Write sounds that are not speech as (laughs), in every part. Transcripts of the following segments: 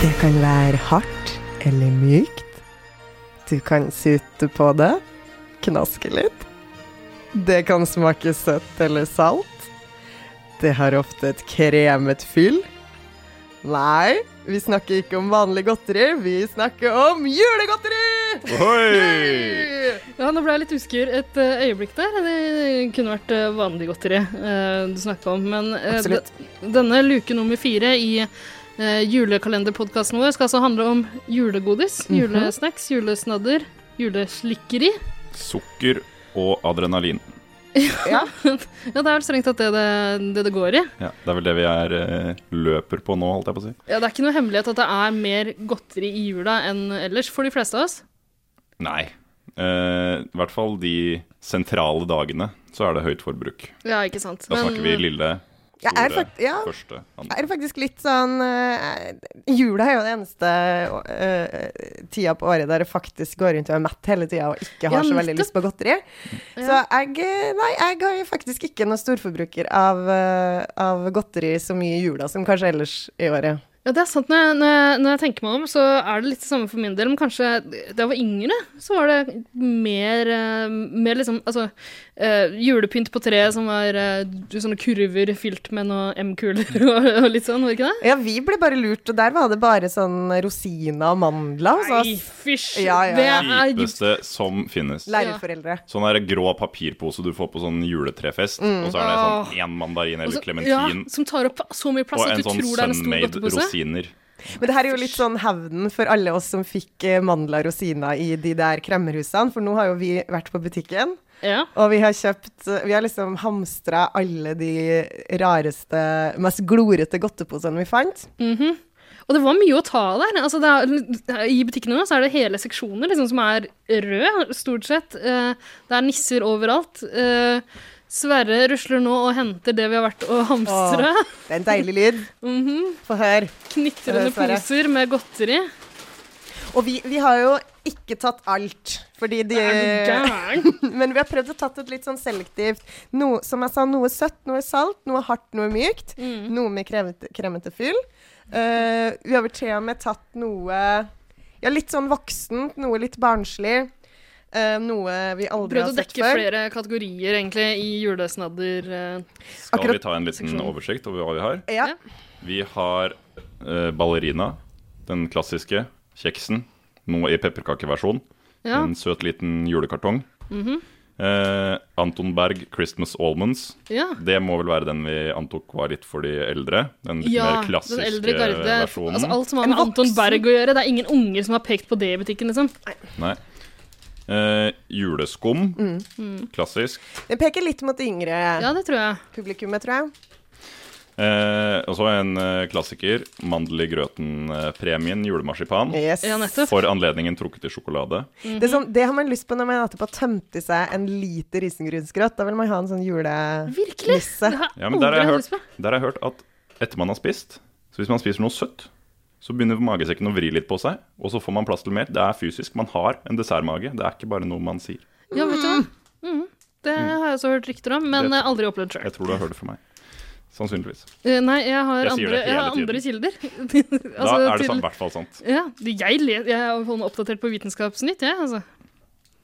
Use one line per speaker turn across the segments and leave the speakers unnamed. Det kan være hardt eller mykt. Du kan sutte på det, knaske litt. Det kan smake søtt eller salt. Det har ofte et kremet fyll. Nei, vi snakker ikke om vanlig godteri, vi snakker om julegodteri!
Oi!
Ja, nå ble jeg litt usikker et eh, øyeblikk der. Det kunne vært eh, vanlig godteri eh, du snakket om. Men eh,
Absolutt.
de- denne luke nummer fire i eh, julekalenderpodkasten vår skal altså handle om julegodis, julesnacks, julesnadder, juleslikkeri.
Sukker og adrenalin.
Ja,
Ja, det er vel strengt tatt det det, det det går i.
Ja, det er vel det vi er eh, løper på nå, holdt jeg på å si.
Ja, det er ikke noe hemmelighet at det er mer godteri i jula enn ellers for de fleste av oss.
Nei. Eh, I hvert fall de sentrale dagene så er det høyt forbruk.
Ja, ikke sant.
Da snakker vi lille,
jeg er,
store,
fakt ja,
første, andre.
er faktisk litt sånn eh, Jula er jo den eneste eh, tida på året der jeg faktisk går rundt og er mett hele tida og ikke har
Ja,
så veldig
nettopp.
lyst på godteri. Så
Ja.
jeg eh, Nei, jeg er faktisk ikke noen storforbruker av, eh, av godteri så mye i jula som kanskje ellers i året.
Ja, det er sant. Når jeg, når, jeg, når jeg tenker meg om, så er det litt det samme for min del. Men kanskje da jeg var yngre, så var det mer, eh, mer liksom Altså, eh, julepynt på treet som var eh, sånne kurver fylt med noe M-kuler (laughs) og, og litt sånn, var det ikke det?
Ja, vi ble bare lurt, og der var det bare sånn rosiner og mandler hos
Nei,
oss
Altså, fysj!
Ja, ja, ja.
Det er dypt
Kjipeste som finnes.
lærerforeldre.
Sånn der grå papirpose du får på sånn juletrefest, og så er det
Mm. Åh.
sånn én mandarin
og
eller
så-
klementin.
altså, Ja, som tar opp så mye plass
Og
at
en
du
sånn
tror det er en stor
sunmade
godtepose.
rosiner.
Men det her er jo litt sånn hevnen for alle oss som fikk eh, mandler og rosiner i de der kremmerhusene, for nå har jo vi vært på butikken.
Ja.
Og vi har kjøpt Vi har liksom hamstra alle de rareste, mest glorete godteposene vi fant.
Og det var mye å ta av der. Altså, det er, I butikkene nå så er det hele seksjoner liksom, som er rød, stort sett. Eh, det er nisser overalt. Eh, Sverre rusler nå og henter det vi har vært og hamstre. (laughs)
Det er en deilig lyd.
Mhm.
Få høre.
Knitrende
Eh, Sverre.
poser med godteri.
Og vi, vi har jo ikke tatt alt, fordi de
Er du
(laughs)
gæren?
Men vi har prøvd å tatt et litt sånn selektivt. Noe, som jeg sa, noe søtt, noe salt, noe hardt, noe mykt.
Mm.
Noe med kremete, kremete fyll. Eh, vi har vel til og med tatt noe Ja, litt sånn voksent, noe litt barnslig. eh, noe vi aldri
Prøvd
har
å
sett
dekke
før.
flere kategorier, egentlig, i julesnadder. Eh,
Skal
Akkurat-
vi ta en liten
Seksjon.
oversikt over hva vi har?
Ja.
Vi har eh, ballerina, den klassiske kjeksen, nå i pepperkakeversjon.
ja. Mhm.
En søt liten julekartong. Eh, Anton Berg, 'Christmas Almonds'.
ja.
Det må vel være den vi antok var litt for de eldre? Den litt
Ja,
mer klassiske
den eldre garde.
versjonen?
Altså, alt som har
En
med Anton
voksen.
Berg å gjøre. Det er ingen unger som har pekt på det i butikken, liksom.
Nei. Eh, juleskum,
Mm.
Mm. klassisk.
Den peker litt mot det yngre
Ja, det tror jeg.
publikummet, tror jeg.
Eh, og så en eh, klassiker. Mandel i grøten-premien, julemarsipan.
Yes.
Ja, nettopp.
For anledningen trukket i sjokolade.
det, er sånn, det har man lyst på når man etterpå har tømt i seg en liter risengrynsgrøt. Da vil man ha en sånn
Virkelig! Det
julenisse.
har jeg
Ja, men der har,
aldri
jeg
hatt lyst på.
hørt, der har jeg hørt at etter man har spist Så hvis man spiser noe søtt, så begynner magesekken å vri litt på seg, og så får man plass til mer. Det er fysisk. Man har en dessertmage. Det er ikke bare noe man sier.
Ja, vet du hva? Mm. Det har jeg også hørt rykter om, men
Det-
eh, aldri opplevd sjøl. Eh,
Jeg tror du har hørt det fra meg. Sannsynligvis.
Nei, jeg har
Jeg sier
andre,
det hele
jeg har
tiden.
andre kilder.
(laughs) Da
(laughs) Altså,
er det
til-
sant- i hvert fall sant.
Ja, de- jeg, le- jeg holder meg oppdatert på Vitenskapsnytt, jeg, altså.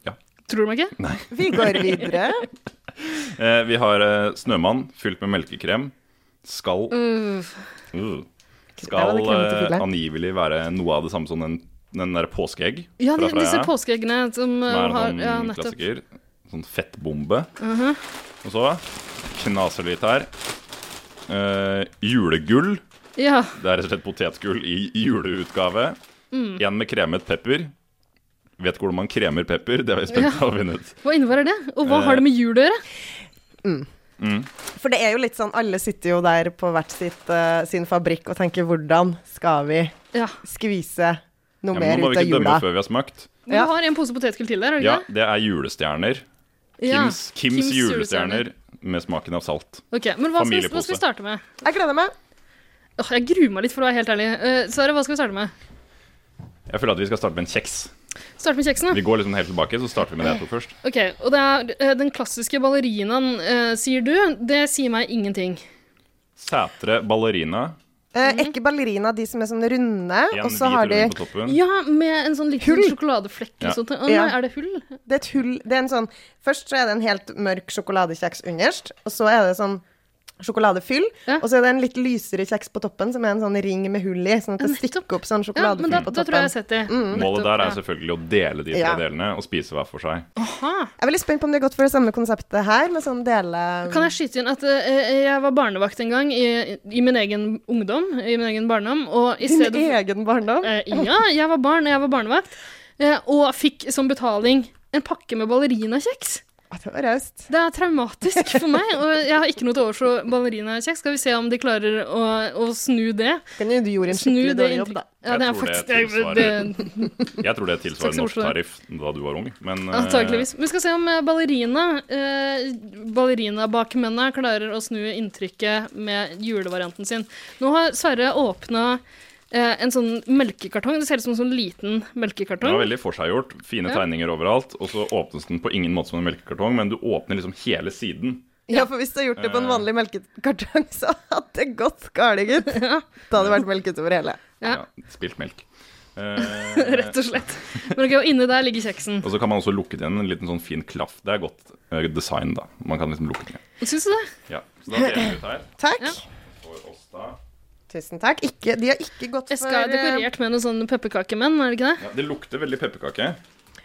Ja.
Tror du meg ikke?
Vi går
(laughs)
videre.
Eh, vi har eh, snømann fylt med melkekrem.
Mm.
Skal
Uff.
uh,
Der var
Skal
det kremete
eh,
fugler.
angivelig være noe av det samme som den, den der påskeegg.
ja, de,
fra Freia,
disse påskeeggene som eh,
Som er en
har
sånn
Ja, nettopp.
klassiker. Sånn fettbombe. Og så knaser det litt her. Eh, julegull.
Ja.
Det er rett og slett potetgull i juleutgave. En med kremet pepper. Vet hvordan man kremer pepper. Det er jeg spent på å finne ut.
Hva innebærer det? Og hva har det med jul å gjøre?
For det er jo litt sånn, alle sitter jo der på hvert sitt, eh, sin fabrikk og tenker hvordan skal vi
Ja.
skvise noe
Ja, men
mer
nå må
ut
vi
av
ikke dømme
jula?
før vi har smakt.
Men
Ja.
Du har en pose potetgull til der, har du
Ja,
ikke?
det er julestjerner.
det? Ja.
Kims, Kims,
Kims
julestjerner med smaken av salt.
Ok, Men hva skal, vi, hva
Familiepose.
skal vi starte med?
Jeg gleder meg.
Åh, jeg gruer meg litt, for å være helt ærlig. Eh, Sverre, hva skal vi starte med?
Jeg føler at vi skal starte med en kjeks.
Starte med kjeksen, da.
Vi går liksom helt tilbake, så starter vi med det jeg tok først.
Ok, og det er eh, den klassiske ballerinaen, eh, sier du. Det sier meg ingenting.
Sætre ballerina
Eh,
Mhm.
ekte ballerina, de som er sånn runde,
En
og så
hvit
har de
runde på toppen.
Ja, med en sånn liten
Hull.
sjokoladeflekk
Ja.
eller sånt. Å
Ja.
nei, er det hull?
Det er et hull Det er en sånn Først så er det en helt mørk sjokoladekjeks underst, og så er det sånn sjokoladefyll,
Ja.
og så er det en litt lysere kjeks på toppen som er en sånn ring med hull i, sånn at det
Nettopp.
stikker opp sånn
Ja, men
sjokoladefyll
da,
på
da tror jeg jeg
toppen.
har sett det.
Målet der er
Mm, Nettopp,
selvfølgelig å dele de tre
Ja.
delene og spise hver for seg.
ja. Aha.
Jeg er veldig spent på om det er godt for det samme konseptet her, med sånn dele
Kan jeg skyte inn at eh, jeg var barnevakt en gang i, i min egen ungdom, i min egen barndom, og i
Din
stedet for
egen barndom?
Eh, Ja, jeg var barn, og jeg var barnevakt, eh, og fikk som betaling en pakke med ballerinakjeks.
Å, Det var raust.
Det er traumatisk for meg, og jeg har ikke noe til overs for ballerinakjeks. Skal vi se om de klarer å, å snu det?
Kan jo du gjorde en
Snu
skikkelig
det
dårlig jobb,
inntrykk-
da.
Ja,
Jeg
det er
tror det
faktisk det,
tilsvarer-
det,
Jeg tror det tilsvarer
Takk skal
norsk
du ha.
tariff da du var ung, men eh,
Antakeligvis. Vi skal se om eh, ballerina eh, ballerinabakmennene klarer å snu inntrykket med julevarianten sin. Nå har Sverre åpna eh, en sånn melkekartong. Det ser ut som en sånn liten
Det var
melkekartong. (laughs)
veldig forseggjort. Fine
Ja.
tegninger overalt. Og så åpnes den på ingen måte som en melkekartong, men du åpner liksom hele siden.
Ja, for hvis du hadde gjort det på en vanlig melkekartong, så hadde det gått galt, gutt. Da hadde det vært melket over hele.
Ja.
Ja, spilt
(laughs)
melk. Eh,
Rett og slett. Men ok, og inni der ligger kjeksen.
og så kan man også lukke den en liten sånn fin klaff. Det er godt eh, design, da. Man kan liksom lukke den.
Syns du det?
Ja, så da deler vi ut her.
Takk.
Ja.
For oss da.
Tusen takk. Ikke, de har ikke gått for
Eska er
eh,
dekorert med noen sånne pepperkakemenn, er det ikke det?
Ja, det lukter veldig pepperkake.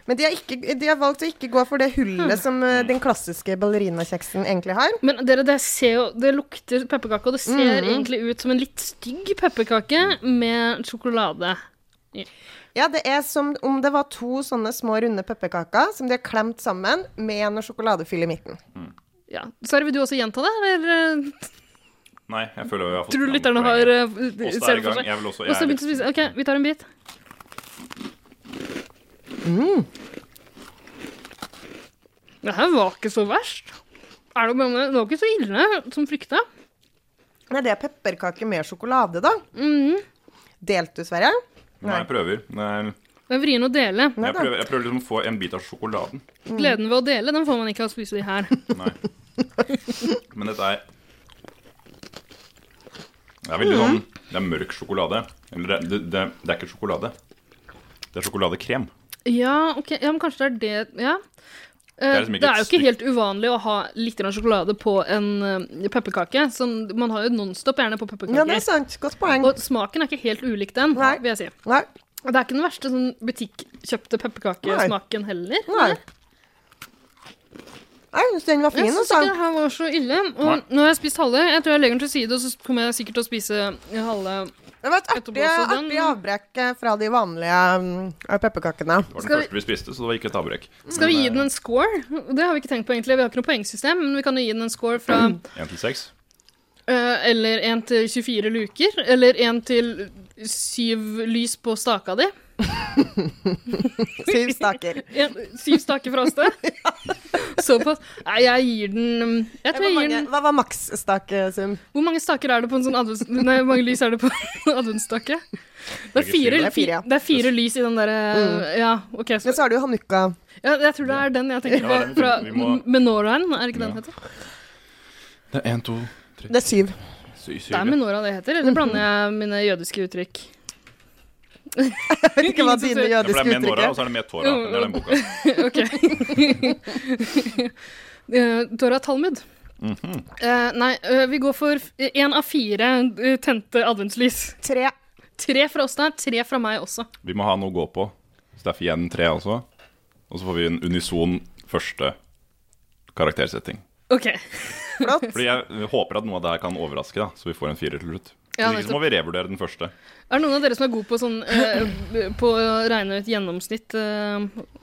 Men de har, ikke, de har valgt å ikke gå for det hullet
Hmm.
som eh, den klassiske ballerinakjeksen egentlig har.
Men dere, det, ser jo, det lukter pepperkake, og det ser
Mm.
egentlig ut som en litt stygg pepperkake med sjokolade.
Ja, det er som om det var to sånne små runde pepperkaker som de har klemt sammen med noe sjokoladefyll i midten.
Ja. Sverre, vil du også gjenta det, eller eh,
Nei, jeg føler vi har fått
tror du
fram
lytterne
poenget.
har eh,
Åsta
ser
er
det
i
for
gang.
seg?
Jeg vil også jeg
Åsta
er
begynte å
litt-
spise. OK, vi tar en bit. Mm. Det her var ikke så verst. Er det, bare med- det var ikke så ille som frykta.
Nei, det er pepperkake med sjokolade, da.
Mm-hmm.
Delt du, Sverre?
Nei, jeg prøver. Nei,
Det er vrien å dele.
Nei
jeg
da.
prøver. Jeg prøver liksom å få en bit av sjokoladen.
Gleden ved å dele, den får man ikke av å spise de her.
Nei. Men dette er Det er veldig
Mm.
sånn Det er mørk sjokolade. Eller det, det, det, det er ikke sjokolade. Det er sjokoladekrem.
Ja, ok. Ja, men kanskje det er det Ja. Eh,
Det
Det
er liksom
er,
ikke
jo
et
ikke
stykke-
helt uvanlig å ha litt grann sjokolade på en eh, pepperkake. Sånn, man har jo Nonstop gjerne på
Ja, det er
pepperkaker.
sant. Godt poeng.
og smaken er ikke helt ulik den,
Nei.
vil jeg si.
Nei.
Og det er ikke den verste sånn butikkjøpte pepperkakesmaken heller.
Nei. Nei, jeg syns den var fin,
Jeg syns
altså.
ikke det her var så ille. Og
Nei.
nå har jeg spist halve. Jeg tror jeg legger den til side, og så kommer jeg sikkert til å spise halve.
Det var et
Etterpå
artig,
også den-
artig avbrekk eh, fra de vanlige mm,
(laughs)
pepperkakene.
Det var den
Skal vi-
første vi spiste, så det var ikke et avbrekk.
Skal vi
Mm.
gi den en score? Det har vi ikke tenkt på egentlig. Vi har ikke noe poengsystem, men vi kan jo gi den en score fra
Mm.
Én til seks.
Eh, eller 1 til 24 luker. Eller 1 til 7 lys på staka di.
Syv staker.
En, syv staker
(laughs)
fra sted. Såpass. Nei, jeg gir den mm, Jeg tror
Hvor
jeg gir
mange,
den
hva var makssstakesum?
Hvor mange staker er det på en sånn advents... Nei, hvor mange lys er det på en adventsstake? Det er
ikke syv,
fire,
det
er fire, ja.
det er fire lys i den derre
Mm.
Ja, OK. Så,
Men så har du jo hanukka.
ja, jeg tror det er den jeg tenker
Ja,
på.
det er den vi
Fra
tenker- vi må-
Menoraen, er det ikke den
Ja.
heter?
Det er én, to, tre,
Det er syv.
syv, syv.
Det er Menora det heter, eller blander jeg mine jødiske uttrykk?
Jeg vet ikke
(laughs)
hva dine
Ja, for det
jødiske
er med
uttrykk
Nora, og
altså.
er.
så er det med Tora. Det er den
Mm.
boka.
Ok. (laughs) Eh, Dora Talmud.
Mhm.
Eh, nei, eh, vi går for én av fire eh, tente adventslys.
Tre.
Tre fra oss der, tre fra meg også.
Vi må ha noe å gå på. Så derfor igjen tre, altså. Og så får vi en unison første karaktersetting.
Ok.
Flott.
Fordi jeg håper at noe av det her kan overraske, da, så vi får en firer til slutt. Hvis
Ja,
ikke så må vi revurdere den første.
Er det noen av dere som er god på, sånn, eh, på å regne ut gjennomsnitt? eh,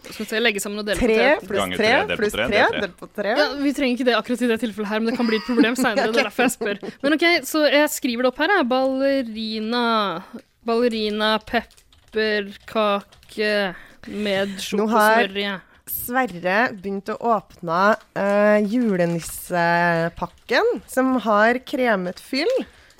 skal vi se, legge sammen og dele
Tre
på tre?
pluss
Ganger tre,
tre
delt på
pluss
tre,
tre
det er tre.
delt på tre.
Ja, vi trenger ikke det akkurat i det tilfellet her, men det kan bli et problem
(laughs)
seinere. Det er derfor jeg spør. Men ok, Så jeg skriver det opp her. Jeg. Ballerina Ballerina pepperkake med
Nå har-
sjokosmørje.
Sverre begynte å åpne eh, julenissepakken som har kremet fyll.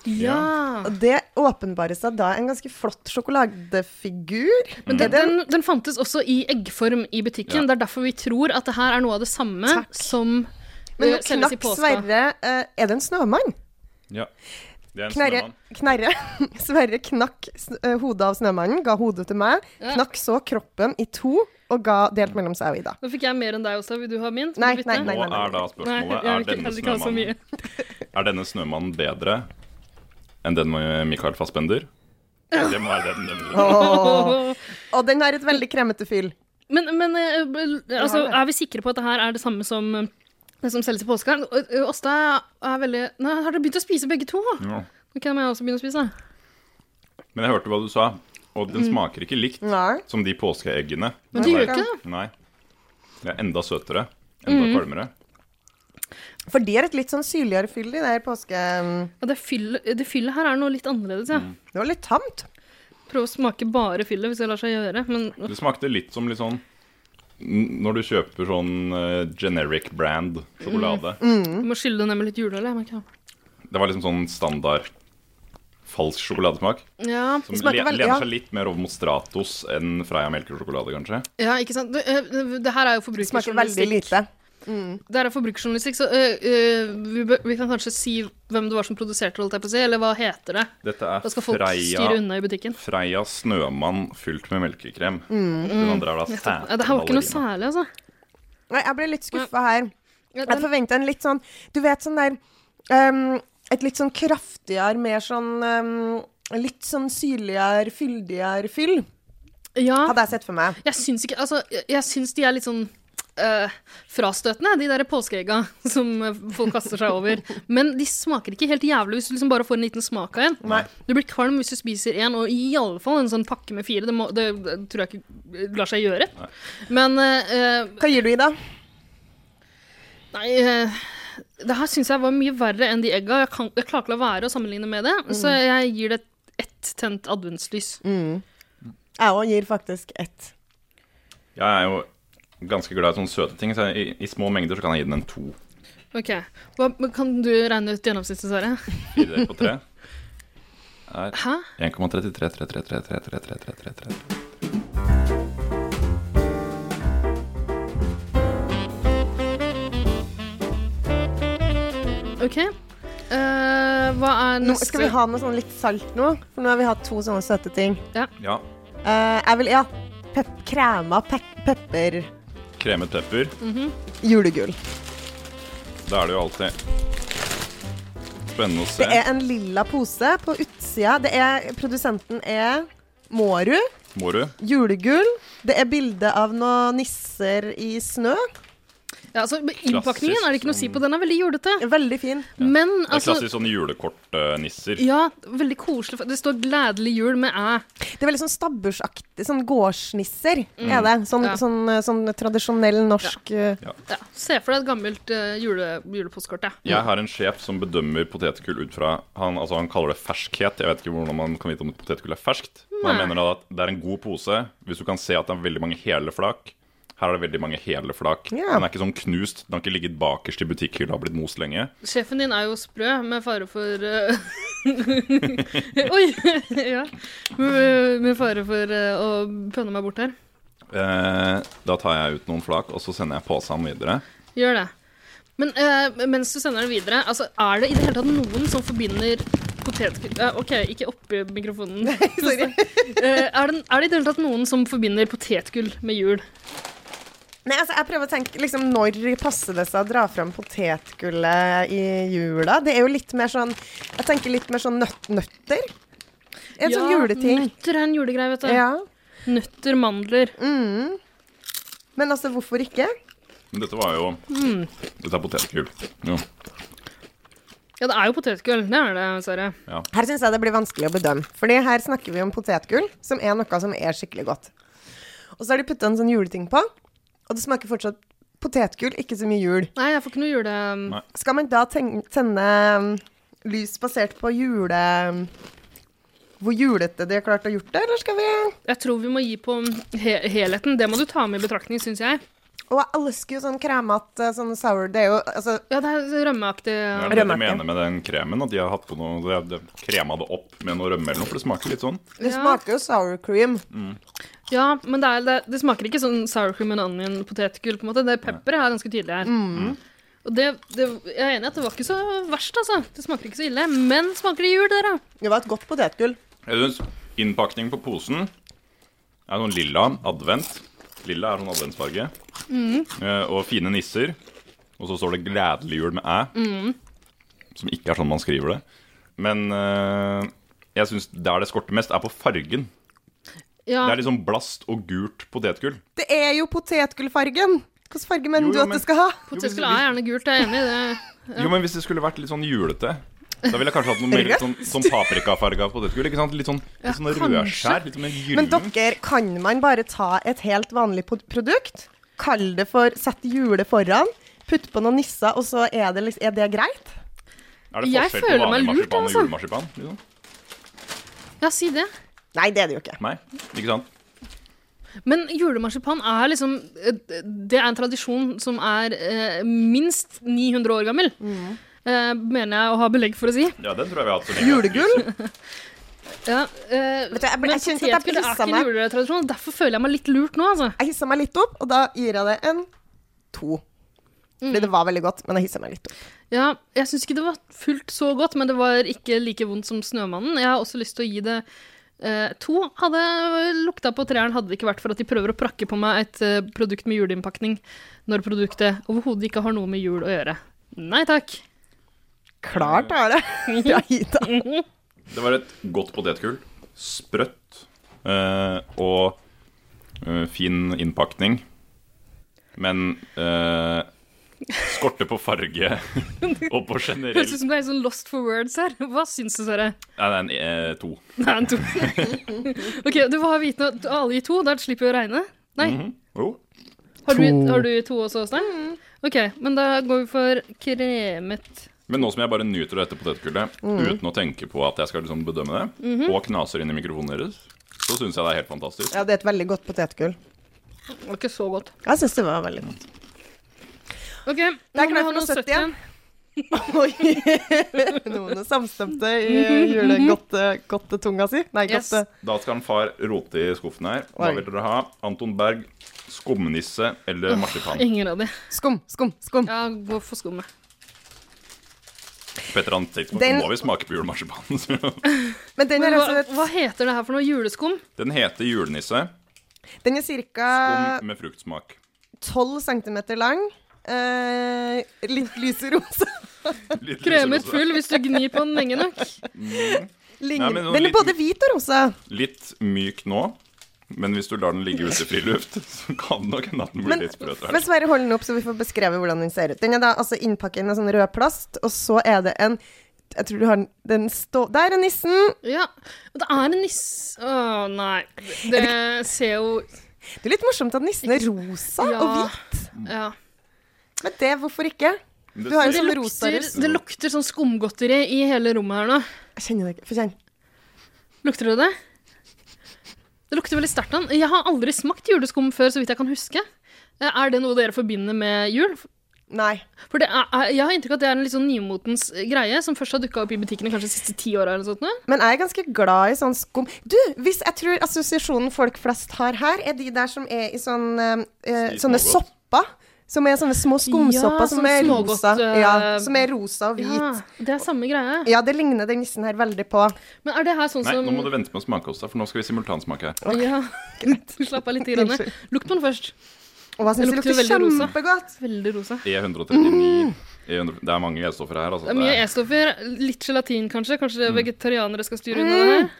Ja.
Og det åpenbarer seg da en ganske flott sjokoladefigur.
Men den,
Er den-
den, den fantes også i eggform i butikken.
Ja.
Det er derfor vi tror at det her er noe av det samme
Takk.
som
Men
eh,
nå
selges i
knakk
påska.
Sverre eh, Er det en snømann?
Ja. Det er en
Knarre,
snømann.
knarre. (laughs) Sverre knakk s- eh, hodet av snømannen, ga hodet til meg.
Ja.
Knakk så kroppen i to og ga delt mellom seg og Ida.
Nå fikk jeg mer enn deg også. Vil du ha min? Skal
Nei,
du bytte?
nei, nei.
Nå er da
Nei,
spørsmålet er
jeg vil ikke-
denne,
jeg vil ikke ha så mye.
snømannen, er denne snømannen bedre enn den med Michael Fassbender? Det må være den. den.
Åh. Og den har et veldig kremmete fyll.
(laughs) Men, men eh, bl- altså,
Ja, det.
er vi sikre på at det her er det samme som eh, det som selges i påska? Ø- Ø- Åsta er veldig Nei, har dere begynt å spise begge to? da?
Ja.
Nå kan jeg også begynne å spise. da.
Men jeg hørte hva du sa, og den smaker ikke likt
Nei.
som de påskeeggene.
Mm. Men
Nei,
du gjør
bare-
ikke det.
Nei. Det er enda søtere.
Mm.
Enda kvalmere.
For det er et litt sånn syrligere fyll i det her påske...
Ja, det, fyll, det fyllet her er noe litt annerledes. Ja.
Det var litt tamt.
Prøv å smake bare fyllet hvis det lar seg gjøre. Men
Det smakte litt som litt sånn n- når du kjøper sånn eh, generic brand sjokolade.
du må skylle det ned med litt juleøl. jeg merker det.
Det var liksom sånn standard falsk sjokoladesmak.
Ja,
Som
Det
le
smaker veldig-
lener
ja.
seg litt mer over mot Stratos enn Freia melkesjokolade, kanskje.
ja, ikke sant. Det, ø, det her er
Det smaker veldig
jo forbrukerjournalistikk.
lite.
Det her er forbrukerjournalistikk, så ø, ø, vi, bør- vi kan kanskje si hvem det var som produserte det, holdt jeg på å si, eller hva heter det?
Dette
Da
er
skal folk
Freia,
styre unna i butikken.
Freia snømann fylt med melkekrem. Den andre er da
Ja, det her var ikke noe
sætballerina.
særlig, altså.
Nei, jeg ble litt skuffa her.
Ja,
Jeg
den-
forventa en litt sånn Du vet sånn der ehm, Et litt sånn kraftigere, mer sånn ehm, Litt sånn syrligere, fyldigere fyll,
ja.
hadde jeg sett for meg.
Jeg syns ikke Altså, jeg- jeg syns de er litt sånn eh, frastøtende, de der påskeegga (laughs) som eh, folk kaster seg over. Men de smaker ikke helt jævlig hvis du liksom bare får en liten smak av en.
Nei.
Du blir kvalm hvis du spiser en, og i alle fall en sånn pakke med fire. Det, må, det, det tror jeg ikke lar seg gjøre. Men eh, eh,
Hva gir du i, da?
Nei eh, Det her syns jeg var mye verre enn de egga. Jeg, kan, jeg klarer ikke la være å sammenligne med det,
Mm.
så jeg gir det ett tent adventslys.
Jeg òg gir faktisk ett.
Jeg er jo ganske glad i sånne søte ting, så jeg, i, i små mengder så kan jeg gi den en to.
Ok, Hva, Kan du regne ut gjennomsnittet, Sverre?
Fire deler på tre er
Hæ?
1,3333333333.
Ok. Eh, hva er
Nå,
neste
skal vi ha noe sånn litt salt nå? For nå har vi hatt to sånne søte ting.
Ja.
Eh, jeg vil Ja. Pep krema pep pepper
Kremet pepper.
julegull.
Da er det jo alltid spennende å
Det
se.
er en lilla pose på utsida. Det er Produsenten er Mårud.
Moru.
Julegull. Det er bilde av noen nisser i snø.
Ja, altså, Innpakningen er det ikke noe å si på. Den er veldig jordete.
Veldig fin.
Men
Det er
altså
klassisk sånn julekortnisser.
Ja, veldig koselig. Det står 'gledelig jul' med æ.
Det er veldig sånn stabbursaktig. Sånn gårdsnisser er det. Sånn,
Mm. Ja.
sånn, eh, sånn tradisjonell norsk eh,
Ja, se for deg et gammelt eh, jule, julepostkort. Ja.
Jeg har en sjef som bedømmer potetgull ut fra han, altså han kaller det ferskhet. Jeg vet ikke hvordan man kan vite om et potetgull er ferskt. Men han
Nei.
mener da at det er en god pose hvis du kan se at det er veldig mange hele flak. Her er det veldig mange hele flak.
Ja.
Den er ikke sånn knust. Den har ikke ligget bakerst i butikkhylla og blitt most lenge.
Sjefen din er jo sprø, med fare for eh, (laughs) Oi! (laughs) ja. Med, med fare for eh, å pønne meg bort her.
Eh, da tar jeg ut noen flak, og så sender jeg posen videre.
Gjør det. Men eh, mens du sender det videre, altså, er det i det hele tatt noen som forbinder potetgull eh, OK, ikke oppi
(laughs)
mikrofonen. Sorry. Eh, er, det, er det i det hele tatt noen som forbinder potetgull med jul?
Nei, altså, jeg prøver å tenke liksom, når passer det seg å dra fram potetgullet i jula? Det er jo litt mer sånn Jeg tenker litt mer sånn nøtt, nøtter. En sånn juleting.
Nøtter er en julegreie, vet du.
Ja.
Nøtter, mandler.
Mm. Men altså, hvorfor ikke?
Men dette var jo Dette er potetgull. Jo.
Ja, det er jo potetgull. Det er det, Sverre.
Her syns jeg det blir vanskelig å bedømme. Fordi her snakker vi om potetgull, som er noe som er skikkelig godt. Og så har de putta en sånn juleting på, og det smaker fortsatt potetgull, ikke så mye jul.
Nei, jeg får ikke noe jule...
Nei.
Skal man da ten tenne mm, lys basert på jule... um, Hvor julete de har klart å gjort det, eller skal vi
Jeg tror vi må gi på he helheten. Det må du ta med i betraktning, syns jeg.
Og jeg elsker jo sånn kremete, sånn sour Det er jo altså
Ja, det er
Det
rømmeaktig.
er det de
Rømmeaktig.
mener med den kremen, at de har hatt på noe De har de har krema det opp med noe rømme eller noe, for det smaker litt sånn.
Det
Ja.
smaker jo sour cream.
Ja, men det, er, det, det smaker ikke sånn sour cream and onion potetgull, på en måte. Det pepperet er ganske tydelig her. Og det, det, jeg er enig i at det var ikke så verst, altså. Det smaker ikke så ille. Men smaker det jul, dere?
Det var et godt potetgull.
Jeg syns innpakningen på posen er sånn lilla advent. Lilla er sånn adventsfarge. Eh, og fine nisser. Og så står det 'gledelig jul' med æ. Som ikke er sånn man skriver det. Men eh, jeg syns der det skorter mest, er på fargen.
Ja.
Det er liksom blast og gult potetgull.
Det er jo potetgullfargen! Hvilken farge mener
Jo,
du
jo,
at
men-
det skal ha?
Potetgull er gjerne gult, jeg er enig i det.
Jo, men hvis det skulle vært litt sånn julete da ville jeg kanskje hatt noe mer litt sånn, sånn paprikafarga potetgull. ikke sant? Litt sånn, litt sånn
kanskje.
rødskjær. Litt sånn
Men
gyllen.
dere, kan man bare ta et helt vanlig pod- produkt, kall det for Sett hjulet foran, putte på noen nisser, og så er det, liksom, er det greit?
Er det
Jeg
forskjell på
føler meg
vanlig
lurt,
marsipan og
altså.
julemarsipan? Liksom?
Ja, si det.
Nei, det er det jo ikke.
Nei, ikke sant?
Men julemarsipan er liksom Det er en tradisjon som er eh, minst 900 år gammel. Eh, mener jeg å ha belegg for å si.
Ja, den tror jeg vi har hatt så lenge.
Julegull?
Ja, eh,
Vet du, jeg ble-
men
jeg kjente at jeg
potetgull er
pisset
ikke en
meg.
juletradisjon. Derfor føler jeg meg litt lurt nå, altså.
Jeg hissa meg litt opp, og da gir jeg det en to. Fordi det var veldig godt, men jeg hissa meg litt opp.
Ja, jeg syns ikke det var fullt så godt, men det var ikke like vondt som Snømannen. Jeg har også lyst til å gi det eh, to. Hadde lukta på treeren hadde det ikke vært for at de prøver å prakke på meg et eh, produkt med juleinnpakning når produktet overhodet ikke har noe med jul å gjøre. Nei takk.
Klart er
(laughs)
det! Bra hit, da.
Det var et godt potetgull. Sprøtt eh, og eh, fin innpakning. Men eh, skorte på farge og på
Høres
generell
ut som det er sånn lost for words her. Hva syns du, Sverre?
Nei, nei, en, eh, to.
Nei, en to. (laughs) OK, du får ha vitende at alle gir to. Da slipper vi å regne. Nei.
Jo.
Har du,
To.
har du to også, Åsne? OK, men da går vi for kremet.
Men nå som jeg bare nyter dette potetgullet uten å tenke på at jeg skal liksom bedømme det, og knaser inn i mikrofonen deres, så syns jeg det er helt fantastisk.
Ja, det er et veldig godt potetgull.
Det var ikke så godt.
Jeg syns det var veldig godt.
OK,
Det er
nå må vi
klart
ha
for noe
noe
70
søtt igjen.
igjen. Oi. (laughs) Noen er samstemte i eh, julegodtetunga si. Nei, eh,
Yes.
godte...
Da skal en far rote i skuffen her. Hva
Oi.
vil dere ha? Anton Berg, skumnisse eller
(laughs)
marsipan?
Ingen av de.
Skum, skum, skum.
Ja, gå for skummet.
På et eller annet tidspunkt
Den-
må vi smake på julemarsipanen. så-
(laughs) Men den
Men
er,
hva,
altså,
hva heter det her for noe? Juleskum?
Den heter julenisse.
den er ca.
Skum med fruktsmak.
12 cm lang. Eh, litt lys
(laughs)
rosa.
Litt
Kremet
lyserød.
full hvis du gnir på den lenge nok.
Ligner.
men noen
den er
liten-
både hvit og rosa.
Litt myk nå, men hvis du lar den ligge ute i friluft, (laughs) så kan nok hende at den blir
Men,
litt sprøt.
men
her.
Sverre, hold den opp, så vi får beskrevet hvordan den ser ut. Den er da altså innpakket i en sånn rød plast, og så er det en Jeg tror du har den, den stå... Der er nissen!
(laughs) Ja. Og det er en nisse Å, nei. Det ser jo
Det er litt morsomt at nissen er rosa
Ja.
og hvit.
Ja.
Men det, hvorfor ikke?
Det
Du har jo
Det
sånn
lukter,
rosarus.
det lukter sånn skumgodteri i hele rommet her nå.
Jeg kjenner det ikke. Få kjenne.
Lukter det det? Det lukter veldig sterkt av den. Jeg har aldri smakt juleskum før, så vidt jeg kan huske. Eh, Er det noe dere forbinder med jul?
Nei.
For det er, er- jeg har inntrykk av at det er en litt sånn nymotens greie, som først har dukka opp i butikkene kanskje de siste ti åra eller noe sånt. nå.
Men jeg er ganske glad i sånn skum Du, hvis jeg tror assosiasjonen folk flest har her, er de der som er i sånn, eh, eh,
I
sånne
smågodt.
sopper. Som er sånne små skumsopper
Ja,
som,
sånn
er
smågodt,
rosa.
eh,
Ja, som er rosa og hvit.
Ja,
Ja.
det er samme greie.
det ligner den nissen her veldig på.
Men er det her sånn
Nei,
som
nå må du vente med å smake oss, da, for nå skal vi simultansmake her.
(laughs) Ja, slapp av litt. Grann.
Unnskyld.
Lukt på den først.
Og jeg syns det
lukter
lukter
veldig rosa.
kjempegodt.
Veldig rosa.
E E139
Mm.
E100, E Det er mange E-stoffer her, altså.
Det er
Det
mye E-
er-
E-stoffer. Litt gelatin, kanskje. Kanskje
Mm.
det er vegetarianere skal styre unna det her.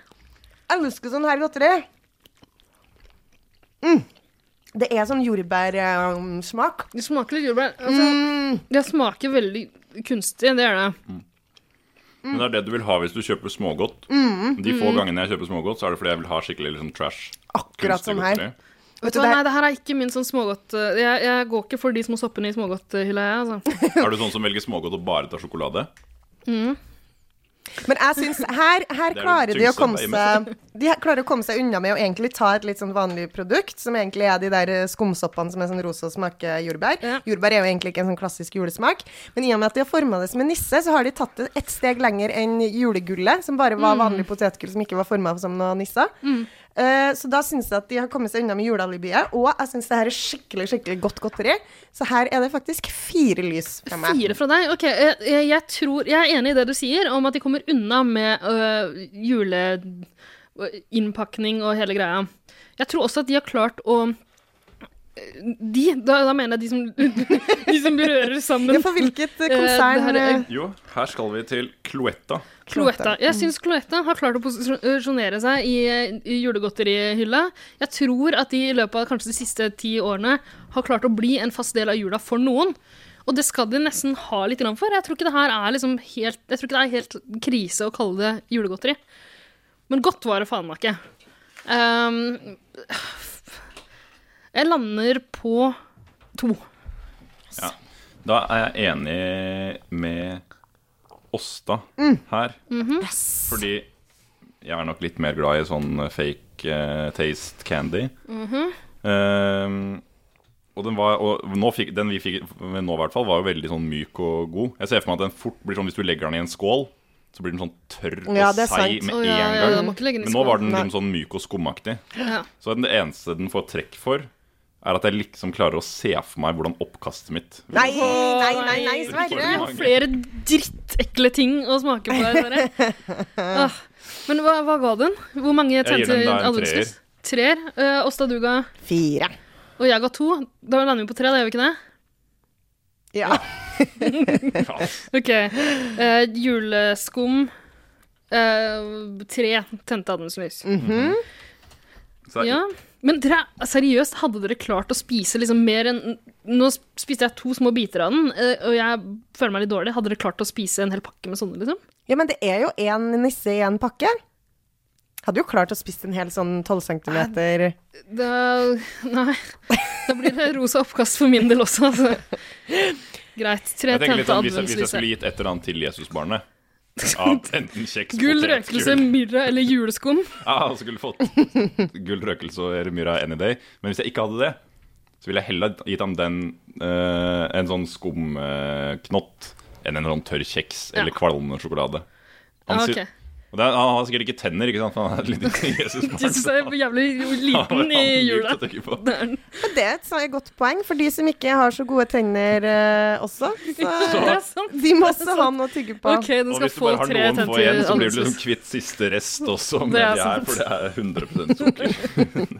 Jeg elsker sånn her godteri. Mm. Det er sånn jordbærsmak. Mm,
Det smaker litt jordbær. Altså, Det smaker veldig kunstig, det er det.
Men det er det du vil ha hvis du kjøper smågodt.
Mm.
De få gangene jeg kjøper smågodt, så er det fordi jeg vil ha skikkelig liksom, trash.
Akkurat
kunstig
sånn her. (laughs)
godteri.
Vet
Vet
du,
du,
det er-
hva, nei, det her er ikke min sånn smågodt... eh, Jeg, jeg går ikke for de små soppene i
(laughs)
smågodthylla, jeg, altså.
Er du sånn som velger smågodt og bare tar sjokolade?
Men jeg syns her, her
Det er
klarer
det
de å
tyngste
komme seg
problemet.
De her klarer å komme seg unna med å egentlig ta et litt sånn vanlig produkt, som egentlig er de der eh, skumsoppene som er sånn rosa og smaker jordbær.
Ja.
Jordbær er jo egentlig ikke en sånn klassisk julesmak, men i og med at de har forma det som en nisse, så har de tatt det et steg lenger enn julegullet, som bare
Mm.
var vanlig potetgull som ikke var forma som noe nisser. Eh, så da syns jeg at de har kommet seg unna med julealibiet, og jeg syns det her er skikkelig, skikkelig godt godteri, så her er det faktisk fire lys fra meg.
Fire fra deg? Ok, jeg, jeg, jeg tror Jeg er enig i det du sier om at de kommer unna med øh, juleinnpakning og hele greia. Jeg tror også at de har klart å eh, De, da, da mener jeg de som, (laughs) de som rører sammen
Ja, for hvilket eh,
Eh, det her
konsern
er-
eh,
Jo, her skal vi til Cloetta.
Cloetta. Jeg syns Cloetta har klart å posisjonere seg i, i julegodterihylla. Jeg tror at de i løpet av kanskje de siste ti årene har klart å bli en fast del av jula for noen. Og det skal de nesten ha litt grann for. Jeg tror ikke det her er liksom helt, jeg tror ikke det er helt krise å kalle det julegodteri. Men godt var det faen meg ikke. Ehm, jeg lander på to.
Da er jeg enig med Åsta her.
Mm-hmm.
Fordi jeg er nok litt mer glad i sånn fake eh, taste candy.
Mm-hmm.
Ehm, og den var og nå fikk, Den vi fikk men nå, i hvert fall, var jo veldig sånn myk og god. Jeg ser for meg at den fort blir sånn hvis du legger den i en skål. Så blir den sånn tørr
Ja,
og
det er
seig
sant.
med
Å,
en
ja, ja, ja,
gang.
må ikke legge den i
Men nå var den
skålen.
liksom sånn myk og skumaktig.
Ja.
Så den eneste den får trekk for, er at jeg liksom klarer å se for meg hvordan oppkastet mitt vil
Nei, nei, nei, nei,
Sverre.
Sverre.
Det er flere drittekle ting å smake på her,
(laughs)
Sverre. Ah, men hva, hva ga den? Hvor mange
gir
tente
den da en
alvorligvis? Treer. Uh, Åsta, du ga
Fire.
Og jeg ga to. Da lander vi på tre, da gjør vi ikke det?
Ja.
Ja,
Ok. Eh, juleskum eh, Tre tente adventslys.
Mm. Så det er
Ja. Men dere, seriøst, hadde dere klart å spise liksom mer enn Nå spiste jeg to små biter av den, eh, og jeg føler meg litt dårlig. Hadde dere klart å spise en hel pakke med sånne, liksom?
ja, men det er jo én nisse i én pakke. Hadde jo klart å spise en hel sånn 12 centimeter
Da, nei. Da blir det rosa oppkast for min del også, altså. Greit. Tre
Jeg tenker litt
tente
sånn, hvis, jeg, hvis jeg
adventslyset.
skulle gitt et eller annet til Jesusbarnet
(laughs)
av enten kjeks,
Gull,
potet,
røkelse,
gull.
myrra eller juleskum.
Ja, han skulle fått (laughs) gull, røkelse og myra any day. Men hvis jeg ikke hadde det, så ville jeg heller gitt ham den eh, en sånn skumknott enn en sånn tørr kjeks eller kvalmende sjokolade. Han,
Ja,
sier-
Ah, ok.
og det er, han har sikkert ikke tenner, ikke sant? for Han er
(laughs)
et lite Jesusbarn.
Jeg syns
(laughs)
jeg er jævlig liten i jula.
jula.
Det er den.
Men det er et sånt godt poeng for de som ikke har så gode tenner eh, også.
(laughs) Det
Så
er sant.
de må også ha noe å tygge på.
Ok, den
Og
skal
hvis du
få
bare har
tre
noen få
tente
igjen, så blir du liksom
adventslys.
kvitt siste rest også
(laughs) Det
med
er
de her,
sant.
for det er 100 sukker.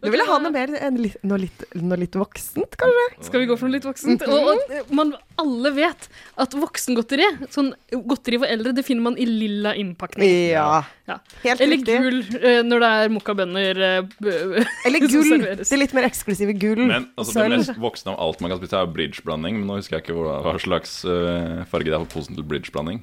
Du ville ha noe mer enn li- noe litt, noe litt voksent, kanskje?
Skal vi gå for noe litt
(laughs)
voksent? Mm, Og, og man, alle vet at voksengodteri, sånn godteri for eldre, det finner man i lilla innpakning.
Ja.
Ja.
Helt
Eller
riktig.
gull eh, når det er mokkabønner. eh, b-
Eller
(laughs) som
gull.
serveres.
Det litt mer eksklusive
Mm.
gull.
Men altså, det
Sølv.
mest voksne av alt man kan spise, er bridgeblanding. Men nå husker jeg ikke hva, hva slags øh, farge det er på posen til bridgeblanding.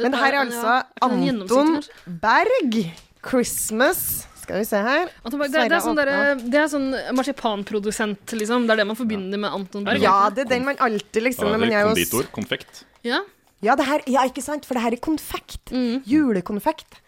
Men her er altså
Ja, den
Anton
gjennomsiktige,
Berg. Christmas. Skal vi se her.
Anton Berg, det, er- det, er sånn
Sverre
derre- det er sånn marsipanprodusent, liksom. Det er det man forbinder med Anton Berg.
Ja, det er den man alltid liksom når
Da er det
man er hos-
konditor. Konfekt.
Ja. Mm,
Ja, det her, ja, ikke sant? For det her er konfekt. Julekonfekt.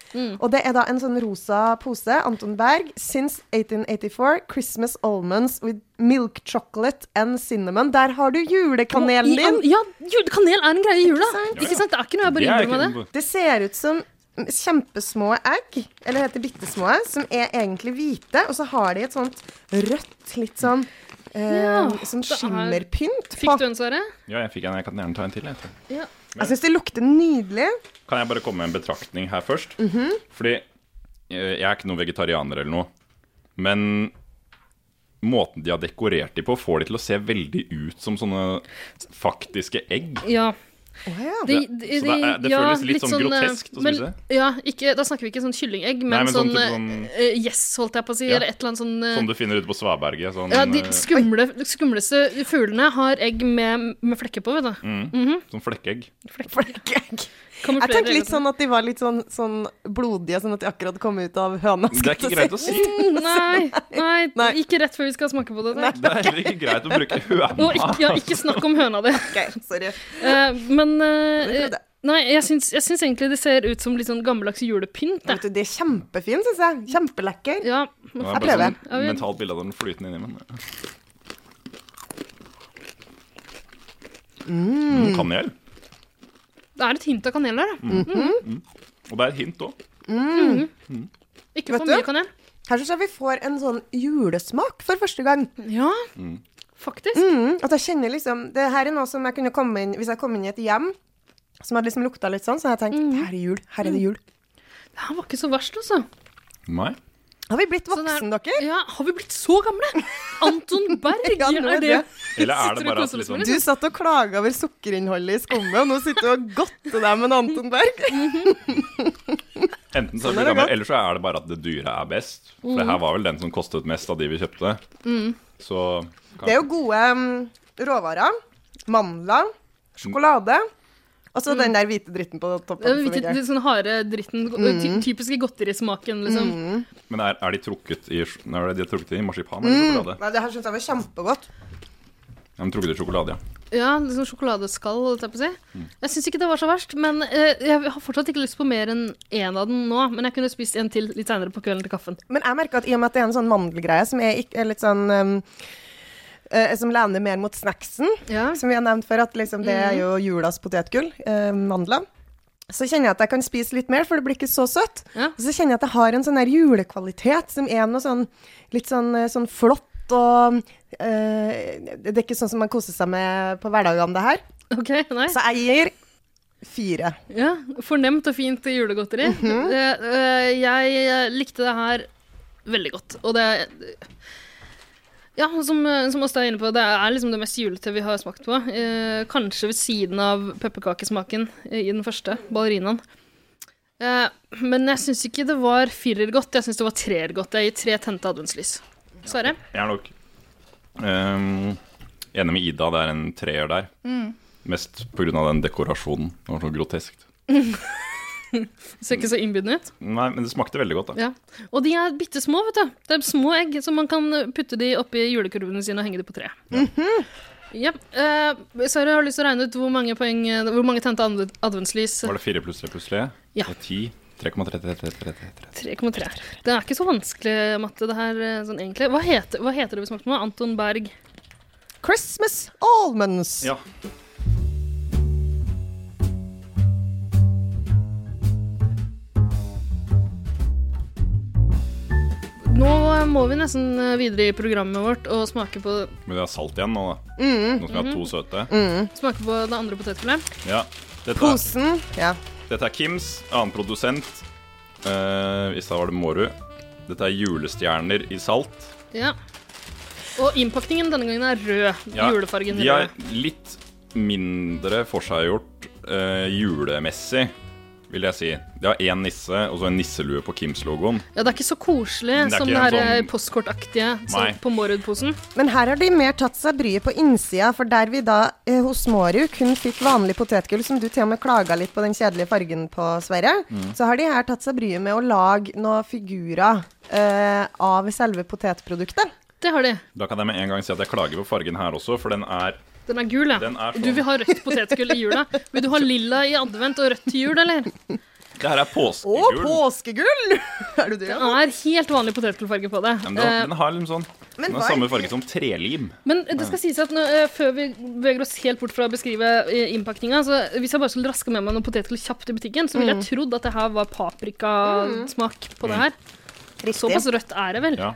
Og det er da en sånn rosa pose. Anton Berg. Since 1884. Christmas almonds with milk chocolate and cinnamon. Der har du julekanelen
I an-
din.
Ja, jul- kanel er en greie i jula. Ikke sant? Det er ikke noe jeg bare
Det er
innrømmer meg det.
ikke-
Det ser ut som kjempesmå egg, eller heter bittesmå, som er egentlig hvite. Og så har de et sånt rødt, litt sånn eh,
Ja,
Som
det er-
skimmerpynt på.
Fikk du en, Sverre?
Ja, jeg fikk en. Jeg kan gjerne ta en til. Jeg tror.
Ja.
Jeg syns det lukter nydelig.
Kan jeg bare komme med en betraktning her først?
Mhm.
Fordi øh, jeg er ikke noen vegetarianer eller noe. Men måten de har dekorert de på, får de til å se veldig ut som sånne faktiske egg.
ja.
Å ja.
De,
Det-
de,
så det er- det føles litt sånn groteskt å
eh, men-
spise?
Ja, ikke, da snakker vi ikke sånn kyllingegg, men,
Nei, men
sånn,
sånn type sånn-
eh, Yes, holdt jeg på å si,
Ja.
eller et eller annet sånn eh,
Som du finner ute på svaberget. Sånn,
ja, de
øh,
skumle, skumleste fuglene har egg med, med flekker på, vet du.
sånn flekkegg.
Folkeegg.
Kamuflerer
Jeg tenkte
egg,
litt sånn at de var litt sånn, sånn blodige, sånn at de akkurat kom ut av høna.
Det er ikke greit å si.
Mm,
(laughs)
Nei, nei,
Nei.
ikke rett før vi skal smake på det. takk.
Det er heller ikke greit
(laughs)
å bruke høna.
(laughs)
Og ikke, ja, ikke snakk om høna di.
Ok, sorry.
Eh, men eh,
prøvde.
Nei, jeg syns, jeg syns egentlig det ser ut som litt sånn gammeldags julepynt. jeg.
Vet du, de er kjempefine, syns jeg. Kjempelækker.
Ja.
Det
Jeg
var bare
prøver.
Ja,
sånn
vi-
mentalt bilde av den flytende inni, men mm. Kanel.
Det er et hint av kanel der. da.
Og det er et hint òg.
Ikke
Vet
for
du?
mye kanel.
Her syns jeg vi får en sånn julesmak for første gang.
Ja, faktisk.
Mm, at jeg kjenner liksom Det her er noe som jeg kunne komme inn Hvis jeg kom inn i et hjem som hadde liksom lukta litt sånn, så hadde jeg tenkt
Mm.
her er jul. Her er det jul.
Det her var ikke så verst, altså.
Nei.
Har vi blitt
Så det Sånn er-
voksen, dere?
Ja, har vi blitt så
(laughs)
gamle? Anton Berg,
Ja, nå
er
er
det
det.
Eller er
Sitter
det
du og
bare at
koser oss
liksom,
med
Du satt og klaga over sukkerinnholdet i skummet, og nå sitter du og godter deg med en Anton Berg.
Enten så er
Sånn er det
det gammel,
godt.
eller så er det bare at det dyre er best. For
Mm.
det her var vel den som kostet mest av de vi kjøpte. Så
Det er jo gode mm, råvarer. Mandler. Sjokolade. Og så den der hvite dritten på toppen.
Mm.
som
Den
ikke
hvite,
er-
den sånn harde dritten,
Mm.
ty- typiske godterismaken, liksom.
Men er, er de trukket i nei, er de trukket i marsipan
Mm.
eller sjokolade?
Nei, det her syns jeg var kjempegodt.
Ja, de trukket i sjokolade, ja.
Ja, liksom sjokoladeskall, holdt jeg på å si. Jeg syns ikke det var så verst, men eh, jeg har fortsatt ikke lyst på mer enn én av den nå. Men jeg kunne spist en til litt seinere på kvelden til kaffen.
Men jeg merker at i og med at det er en sånn mandelgreie som er, ikk- er litt sånn um, eh, Som lener mer mot snacksen,
Ja.
som vi har nevnt før, at liksom det er jo julas potetgull, eh, mandler. Så kjenner jeg at jeg kan spise litt mer, for det blir ikke så søtt.
Ja.
Og så kjenner jeg at jeg har en sånn her julekvalitet som er noe sånn litt sånn, eh, sånn flott og eh, Det er ikke sånn som man koser seg med på hverdagene, det her.
(laughs) Ok, nei.
Så jeg gir fire.
Ja, Fornemt og fint julegodteri. Eh, eh, jeg likte det her veldig godt. Og det Ja, som, eh, som Åsta er inne på, det er liksom det mest julete vi har smakt på. Eh, kanskje ved siden av pepperkakesmaken eh, i den første, ballerinaen. Eh, men jeg syns ikke det var firer godt, jeg syns det var treer godt. Jeg gir tre tente adventslys. Sverre?
Jeg er nok ehm, enig med Ida, det er en treer der.
Mm.
Mest pga. den dekorasjonen. Det var så groteskt.
Ser ikke så innbydende ut.
Nei, men det smakte veldig godt, da.
Ja. Og de er bitte små, vet du. Det er små egg, så man kan putte de oppi julekurvene sine og henge de på treet. Ja. Eh, Sara har lyst til å regne ut hvor mange poeng eh, Hvor mange tente adv- adventslys
Var det fire pluss tre pluss tre?
Ja.
Og ti? 3,333333.
3,3. Det er ikke så vanskelig matte, det her, eh, sånn egentlig. Hva heter, hva heter det vi smakte nå? Anton Berg.
Christmas almonds.
Ja.
Nå må vi nesten eh, videre i programmet vårt og smake på,
Men det er salt igjen nå, da.
Mm-hmm.
Nå skal vi ha to søte.
Mm. smake på det andre potetgullet.
Ja. Dette, er,
Posen. Ja.
dette er Kims, annen produsent. Eh, I stad var det Mårud. Dette er julestjerner i salt.
Ja. Og innpakningen denne gangen er rød.
Ja,
Julefargen
De er
rød.
litt mindre forseggjort eh, julemessig, vil jeg si. De har én nisse og så en nisselue på Kims-logoen.
Ja, det er ikke så koselig
Men det er
som det
ikke
her
en
eh,
sånn-
postkortaktige som
Nei.
på Mårud-posen.
Men her har de mer tatt seg bryet på innsida, for der vi da eh, hos Mårud kun fikk vanlig potetgull, som du til og med klaga litt på den kjedelige fargen på, Sverre,
Mm.
så har de her tatt seg bryet med å lage noen figurer eh, av selve potetproduktet.
Det har de.
Da kan jeg med en gang si at jeg klager på fargen her også, for den er
Den er gul, ja.
Den er sånn.
Du vil ha rødt potetgull i jula. Vil du ha lilla i advent og rødt til jul, eller?
Det her er
Å,
påskegull.
påskegull! (laughs) er du det?
Det er helt vanlig potetgullfarge på det.
Ja, men den, den har liksom sånn
men
Den har
hva er-
samme farge som trelim.
Eh, Men det skal sies at nå, eh, før vi beveger oss helt bort fra å beskrive eh, innpakninga, så hvis jeg bare skulle raske med meg noe potetgull kjapt i butikken, så ville jeg trodd at det her var paprikasmak på det her.
Riktig.
Såpass rødt er det vel.
Mm. Ja.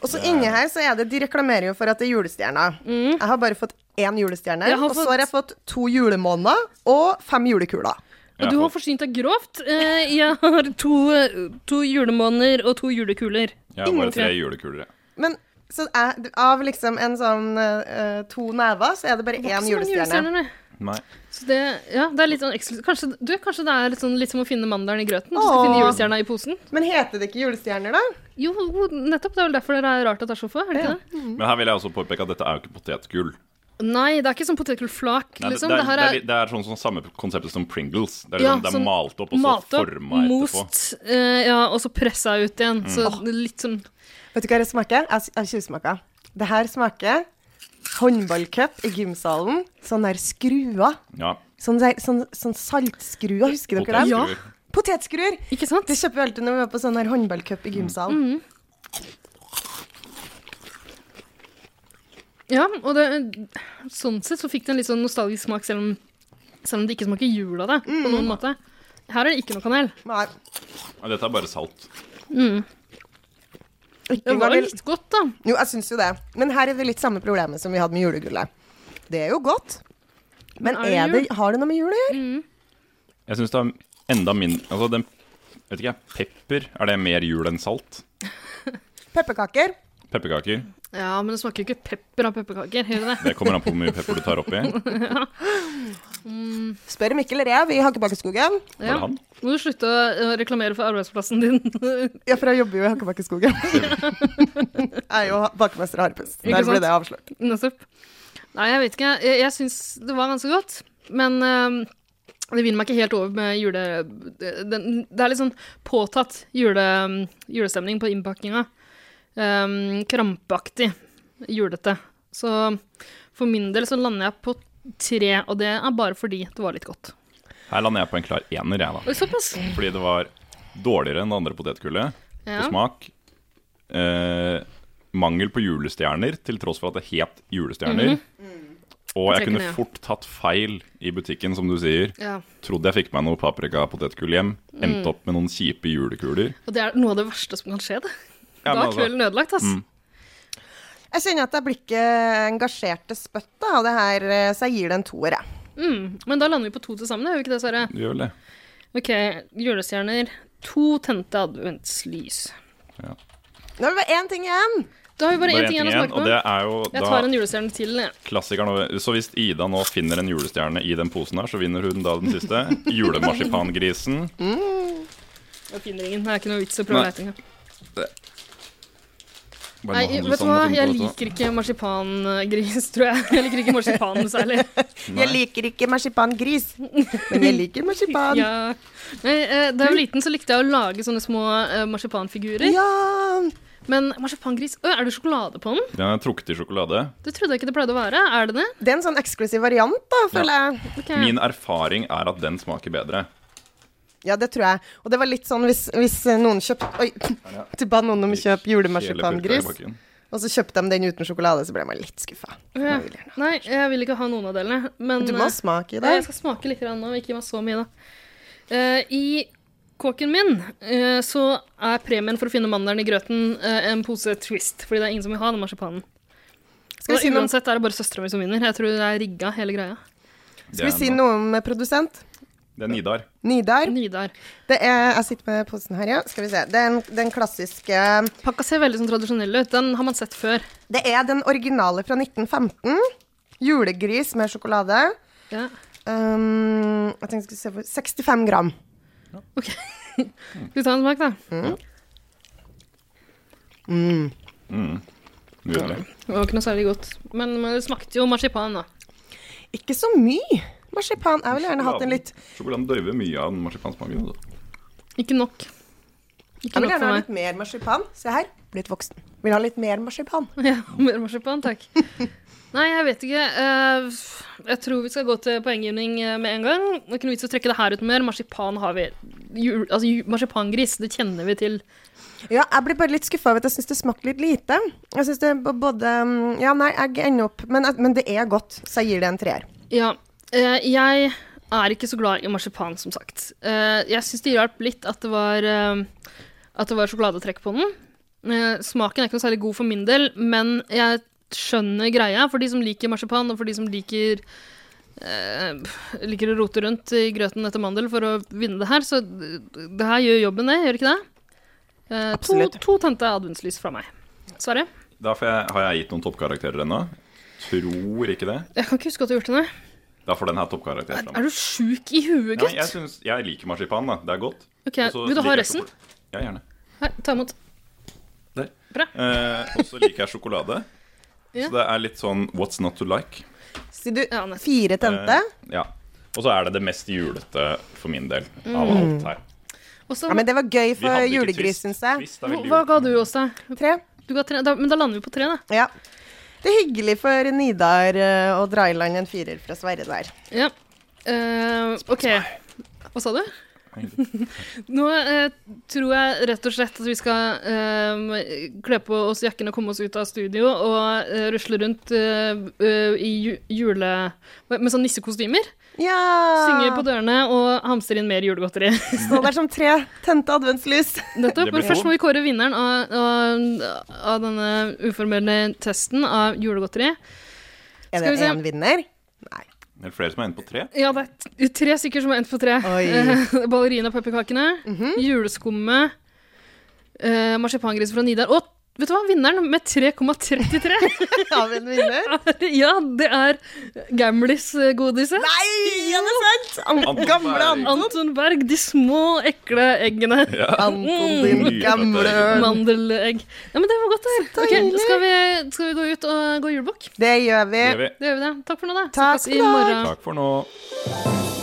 Og så inni her så er det De reklamerer jo for at det er julestjerner. Jeg har bare fått én julestjerne,
Mm. Jeg har
og så
fått-
har jeg fått to julemåneder og fem julekuler.
Og du har forsynt deg grovt. Eh, Jeg (laughs) har to, to julemåner og to julekuler.
Jeg har bare
Ingen
tre
tre.
julekuler. jeg.
Men så er, av liksom en sånn eh, to never, så er det bare
Det var
én
ikke så mange
julestjerne.
julestjerner, nei.
Nei.
Så det, ja, det er litt sånn eksklusivt. Kanskje, du, kanskje det er litt, sånn, litt som å finne mandelen i grøten? Du skal
Åh.
finne julestjerna i posen?
Men heter det ikke julestjerner, da?
Jo, nettopp. Det er vel derfor det er rart at det er så få? er det ikke det?
Men her vil jeg også påpeke at dette er jo ikke potetgull.
Nei, det er ikke sånn potetgullflak,
Nei, det,
liksom.
det,
Det,
er,
her
det,
er,
er, det er sånn som samme konseptet som Pringles. Det er,
Ja,
liksom, det er
sånn
malt opp og så
malt opp,
forma etterpå.
most, eh, ja, og så pressa ut igjen. Så det er litt sånn
Vet du hva det smaker? Jeg jeg tjuvsmaker. Det her smaker håndballcup i gymsalen. Sånn der skrua.
Ja.
Sånn, der- sånn, sånn saltskruer, husker dere dem?
Ja.
Potetskruer.
Potetskruer!
Ikke sant?
Det kjøper vi alltid når vi var på sånn her håndballcup i gymsal.
Mm. Ja, og det, sånn sett så fikk det en litt sånn nostalgisk smak, selv om, selv om det ikke smaker jul av det. På noen måte. Her er det ikke noe kanel.
Nei,
Ja, dette er bare salt.
ikke
Det var
engang-
litt godt, da.
Jo, jeg syns jo det. Men her er det litt samme problemet som vi hadde med julegullet. Det er jo godt, men
Men er det Mm.
er det, har det noe med jul å gjøre?
Jeg syns det er enda mindre Altså, den Vet ikke, jeg. Pepper. Er det mer jul enn salt?
Pepperkaker?
Pepperkaker.
Ja, men det smaker jo ikke pepper av pepperkaker. Gjør det det?
Det kommer an på hvor mye pepper du tar
(laughs)
oppi. Var
Spør Mikkel Rev i Hakkebakkeskogen.
det han?
Må du slutte å eh, reklamere for arbeidsplassen din?
Ja, for jeg jobber jo i Hakkebakkeskogen.
(laughs)
jeg er jo bakemester og harpus.
Ikke
Der ble
sant?
det avslørt.
Nettopp. Nei, jeg vet ikke. Jeg, jeg syns det var ganske godt, men eh, det vinner meg ikke helt over med jule... Den, det er litt sånn påtatt jule, julestemning på innpakninga. Um, krampaktig julete. Så for min del så lander jeg på tre, og det er bare fordi det var litt godt.
Her lander jeg på en klar ener, jeg, da.
Oi, såpass.
Fordi det var dårligere enn det andre potetgullet på
Ja.
smak. Eh, mangel på julestjerner, til tross for at det het julestjerner. Og jeg
Jeg Mhm. trekker
kunne
ned.
fort tatt feil i butikken, som du sier.
Ja.
Trodde jeg fikk meg noe paprikapotetgull hjem.
Mm.
Endte opp med noen kjipe julekuler.
Og det er noe av det verste som kan skje, det.
Ja,
da
men
er
altså-
kvelden ødelagt, ass.
Jeg kjenner at jeg blir ikke engasjert til spytt da, av det her, eh, så jeg gir det en toer, jeg.
Mm. Men da lander vi på to til sammen, gjør vi ikke det, Sverre?
Du gjør vel det.
Ok, julestjerner. To tente adventslys.
Nå er det bare én ting igjen!
Da har vi bare
Bare
én
én
ting igjen å
igjen,
smake
og det
på.
er jo
Jeg
da
tar en julestjerne til. jeg.
klassikeren over. Så hvis Ida nå finner en julestjerne i den posen her, så vinner hun da den
(laughs)
siste. Julemarsipangrisen.
Jeg finner ingen. Det er ikke noe vits i å prøve
Nei.
leting. jeg.
Bare
Nei,
må handle
vet du
sånn
hva,
og sånn
jeg
på dette.
liker ikke marsipangris, tror jeg. Jeg liker ikke marsipan noe særlig.
(laughs)
(laughs)
Jeg liker ikke marsipangris, men jeg liker marsipan. Ja!
Ja. Nei, eh, da jeg var liten, så likte jeg å lage sånne små eh, marsipanfigurer. Men marsipangris Å, er det sjokolade på den?
Den er trukket i sjokolade.
Det trodde jeg ikke det pleide å være. Er det det?
Det er en sånn eksklusiv variant, da, føler jeg.
Ok.
Min erfaring er at den smaker bedre.
Ja, det tror jeg. Og det var litt sånn hvis, hvis noen kjøpte Oi, til ba noen om å kjøpe
Hele
julemarsipangris,
pulka i bakken.
og så kjøpte de den uten sjokolade, så ble man litt skuffa.
Ja. Nei, jeg vil ikke ha noen av delene. Men
Du
eh,
må smake i
Ja,
det.
jeg skal smake litt grann nå, ikke gi meg så mye, da. Eh, I kåken min eh, så er premien for å finne mandelen i grøten eh, en pose Twist, fordi det er ingen som vil ha den marsipanen.
Skal vi si
Og
noe,
Uansett er det bare søstera mi som vinner. Jeg tror det er rigga, hele greia.
skal vi
Det er
si
en-
noe om eh, produsent?
Det er Nidar.
Nidar.
Nidar.
Det er, jeg sitter med posen her, ja. Skal vi se. Det er en- den klassiske
Pakka ser veldig sånn tradisjonell ut. Den har man sett før.
Det er den originale fra 1915. Julegris med sjokolade.
Ja.
Um, jeg tenkte jeg skulle se for 65 gram.
Ok. (laughs) Skal vi ta en smak, da?
Nydelig.
Det var ikke noe særlig godt. Men men det smakte jo marsipan, da.
Ikke så mye marsipan. Jeg ville gjerne hatt en litt
Sjokoladen døyver mye av den marsipansmaken. altså.
Ikke nok.
Jeg
Ikke
vil
nok
gjerne
for
ha
meg.
litt mer marsipan. Se her, blitt voksen. Vil ha litt mer marsipan.
Ja, mer marsipan, takk. Nei, jeg vet ikke. Eh, jeg tror vi skal gå til poenggivning eh, med en gang. Det er ikke noe vits å trekke det her ut mer. Marsipan har vi. Jul, altså, ju- marsipangris, det kjenner vi til.
Ja, jeg blir bare litt skuffa over at jeg syns det smakte litt lite. Jeg synes det b- både mm, Ja, nei, jeg ender opp Men, men det er godt, så jeg gir det en treer.
Ja, eh, jeg er ikke så glad i marsipan, som sagt. Eh, jeg syns det hjalp litt at det var, eh, at det var sjokoladetrekk på den. Eh, smaken er ikke noe særlig god for min del, men jeg skjønner greia for de som liker marsipan, og for de som liker eh, liker å rote rundt i grøten etter mandel for å vinne det her, så d- d- det her gjør jobben, det, gjør ikke det? Eh, to,
Absolutt.
to tente adventslys fra meg. Sverre?
Derfor jeg- har jeg gitt noen toppkarakterer ennå. Tror ikke det.
Jeg kan ikke huske at du har gjort det. nei.
Da får den her toppkarakter. fra meg.
Er du sjuk i huet,
Nei,
gutt?
jeg, synes, jeg liker marsipan, da. Det er godt.
Ok,
Og så
Vil du
liker
ha
jeg
resten?
sjokol- Ja, gjerne.
Her, ta imot.
Der.
Bra.
Eh, og så liker jeg sjokolade.
(laughs) Ja.
Så det er litt sånn what's not to like.
Sier du
Ja, nettopp.
fire tente?
Eh, ja. Og så er det det mest julete for min del av alt
Mm.
her.
Og så-
Ja, men det var gøy
Vi
for
hadde ikke
julegris,
twist.
syns jeg.
Twist er
Hva
veldig
hva
jul-
ga du, Åsta?
Tre.
Du ga tre, da, men da lander vi på tre, da.
Ja. Det er hyggelig for Nidar eh, å dra i land en firer fra Sverre der.
Ja. Eh, OK. Hva sa du? Nå eh, tror jeg rett og slett at vi skal eh, kle på oss jakkene, komme oss ut av studio og eh, rusle rundt eh, eh, i ju jule... med sånn nissekostymer.
Ja!
Synge på dørene og hamstre inn mer julegodteri.
(laughs) Stå der som tre tente adventslys.
Nettopp.
Det blir
Men først
bra.
må vi kåre vinneren av, av, av denne uformelle testen av julegodteri.
Er
(laughs) Skal vi
det
se.
én
(laughs)
vinner? Nei.
Er det flere som er inne på tre?
Ja, det er t- tre stykker som er endt på tre.
Oi.
(laughs)
Mhm.
Eh, Ballerina-pepperkakene, juleskummet, eh, marsipangris fra Nidar og vet du hva, vinneren med 3,33!
Har vi en vinner?
(laughs) ja, det er Gamlis eh, godise.
Nei, er det sant?
Mm.
An
Anton
(laughs) gamle
Berg.
Anton.
Anton Berg, de små, ekle
(laughs)
eggene.
Anton, din
Mm.
gamle
Mandelegg. Ja, men det var godt, det her. Ok,
deilig.
skal, vi, skal vi gå ut og gå julebukk?
Det gjør vi.
Det gjør vi.
Det gjør vi det. Takk for nå, da.
Takk
Snakkes
for nå.
morgen.
Takk for nå.